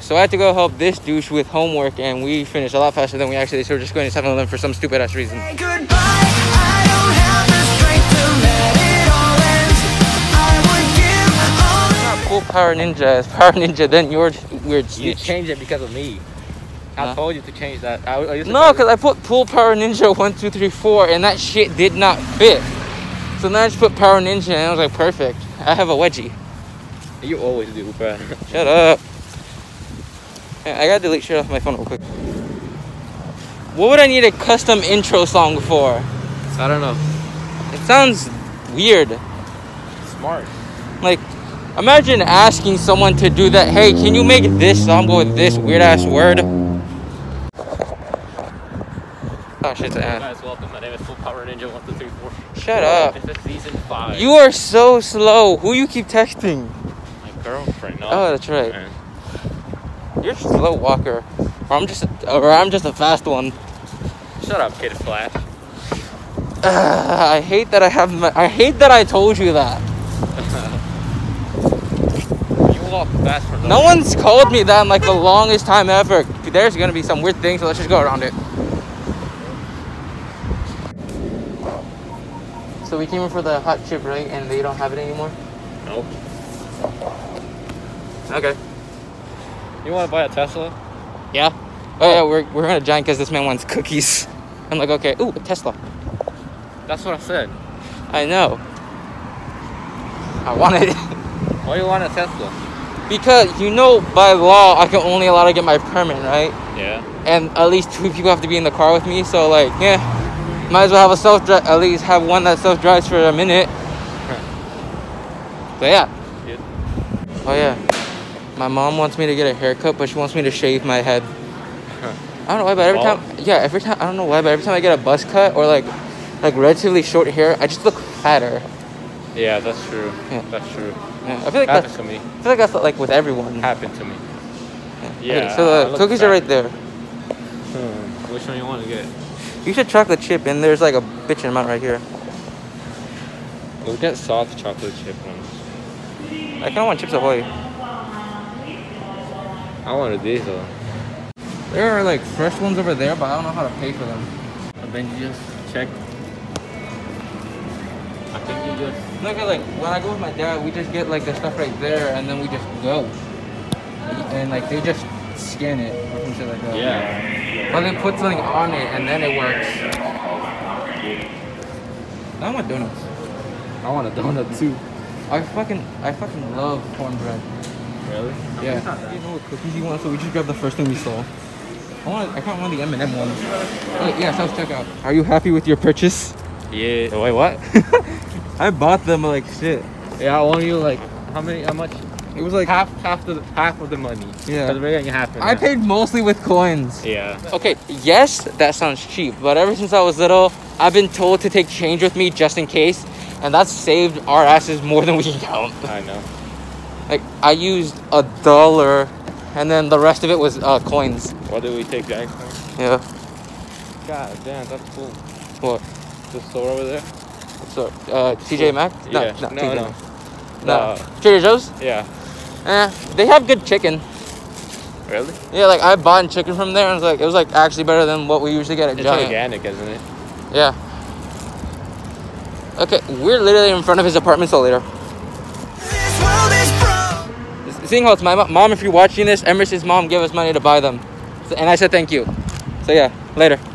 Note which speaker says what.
Speaker 1: So I had to go help this douche with homework, and we finished a lot faster than we actually. So we're just going to settle them for some stupid ass reason.
Speaker 2: Goodbye. I don't have the strength to let it all end. I would give all
Speaker 1: Not Pull Power Ninja as Power Ninja, then your weird
Speaker 3: You
Speaker 1: speech.
Speaker 3: changed it because of me. I
Speaker 1: Huh?
Speaker 3: told you to change that. I, I used to
Speaker 1: No, because I put Pool Power Ninja 1, 2, 3, 4, and that shit did not fit. So then I just put Power Ninja, and I was like, perfect. I have a wedgie.
Speaker 3: you always do, bruh.
Speaker 1: Shut up. Yeah, I gotta delete shit off my phone real quick. What would I need a custom intro song for?
Speaker 3: I don't know.
Speaker 1: It sounds weird.
Speaker 3: Smart.
Speaker 1: Like, imagine asking someone to do that. Hey, can you make this song go with this weird ass word? Oh shit, uh,
Speaker 3: guys, welcome. My name is Full Power Ninja 1234.
Speaker 1: shut up.
Speaker 3: This is season 5.
Speaker 1: You are so slow. Who you keep texting?
Speaker 3: My girlfriend. No.
Speaker 1: Oh, that's right. You're a slow walker. Or I'm just, or I'm just a fast one.
Speaker 3: Shut up, Kid Flash.
Speaker 1: Ugh, I hate that I have. My, I hate that I told you that.
Speaker 3: you walk fast for
Speaker 1: No one's called me that in like the longest time ever. There's gonna be some weird thing, so let's just go around it. So we came in for the hot chip, right? And they don't have it anymore.
Speaker 3: Nope.
Speaker 1: Okay.
Speaker 3: You want to buy a Tesla?
Speaker 1: Yeah. Oh yeah, we're we're gonna giant because this man wants cookies. I'm like, okay, ooh, a Tesla.
Speaker 3: That's what I said.
Speaker 1: I know. I want it.
Speaker 3: Why do you want a Tesla?
Speaker 1: because you know by law I can only allow to get my permit, right?
Speaker 3: Yeah.
Speaker 1: And at least two people have to be in the car with me, so like yeah. Might as well have a self drive at least have one that self drives for a minute. so yeah.
Speaker 3: Dude.
Speaker 1: Oh yeah. My mom wants me to get a haircut but she wants me to shave my head. I don't know why, but every
Speaker 3: Bald?
Speaker 1: time yeah, every time I don't know why, but every time I get a buzz cut or like like relatively short hair, I just look fatter.
Speaker 3: Yeah, that's true.
Speaker 1: Yeah.
Speaker 3: That's true.
Speaker 1: Yeah, I feel like
Speaker 3: Happened
Speaker 1: that's,
Speaker 3: to me.
Speaker 1: I feel like that's like with everyone.
Speaker 3: Happened to me.
Speaker 1: Okay,
Speaker 3: Yeah, I
Speaker 1: so the
Speaker 3: look
Speaker 1: cookies are
Speaker 3: fat.
Speaker 1: right there.
Speaker 3: Which one you want to get?
Speaker 1: You should chocolate chip, and there's like a bitchin' amount right here.
Speaker 3: We'll get soft chocolate chip ones.
Speaker 1: I kind of want chips ahoy.
Speaker 3: I wanted these though.
Speaker 1: There are like fresh ones over there, but I don't know how to pay for them.
Speaker 3: And then you just check. I think you just.
Speaker 1: Look at like when I go with my dad, we just get like the stuff right there, and then we just go. And like they just scan it or some shit like that.
Speaker 3: Yeah.
Speaker 1: But they put something on it, and then it works. I want donuts.
Speaker 3: I want a donut too.
Speaker 1: I fucking I fucking love cornbread.
Speaker 3: Really?
Speaker 1: Yeah. You know what cookies you want, so we just grabbed the first thing we saw. I want. I kind of want the M&M one. Wait, yeah, self checkout. Are you happy with your purchase?
Speaker 3: Yeah. Wait, what?
Speaker 1: I bought them like shit.
Speaker 3: yeah, I want you like how many? How much?
Speaker 1: It was like
Speaker 3: half, half the half of the money.
Speaker 1: Yeah.
Speaker 3: 'Cause we're getting half. of
Speaker 1: I
Speaker 3: that.
Speaker 1: paid mostly with coins.
Speaker 3: Yeah.
Speaker 1: Okay, yes, that sounds cheap, but ever since I was little, I've been told to take change with me just in case, and that's saved our asses more than we can count.
Speaker 3: I know.
Speaker 1: Like I used a dollar, and then the rest of it was uh, coins.
Speaker 3: What did we take back? from?
Speaker 1: Yeah.
Speaker 3: God damn, that's cool.
Speaker 1: What?
Speaker 3: The store over there.
Speaker 1: So, uh, TJ Mac?
Speaker 3: yeah.
Speaker 1: No,
Speaker 3: no,
Speaker 1: TJ.
Speaker 3: no.
Speaker 1: No.
Speaker 3: Uh,
Speaker 1: Trader Joe's?
Speaker 3: Yeah.
Speaker 1: Eh, they have good chicken.
Speaker 3: Really?
Speaker 1: Yeah, like I bought chicken from there, and it was like it was like actually better than what we usually get at
Speaker 3: It's
Speaker 1: Giant.
Speaker 3: organic, isn't it?
Speaker 1: Yeah. Okay, we're literally in front of his apartment, so later.
Speaker 2: this world is broke.
Speaker 1: Seeing how it's my mo- mom, if you're watching this, Emerson's mom gave us money to buy them. So- and I said thank you. So yeah, later.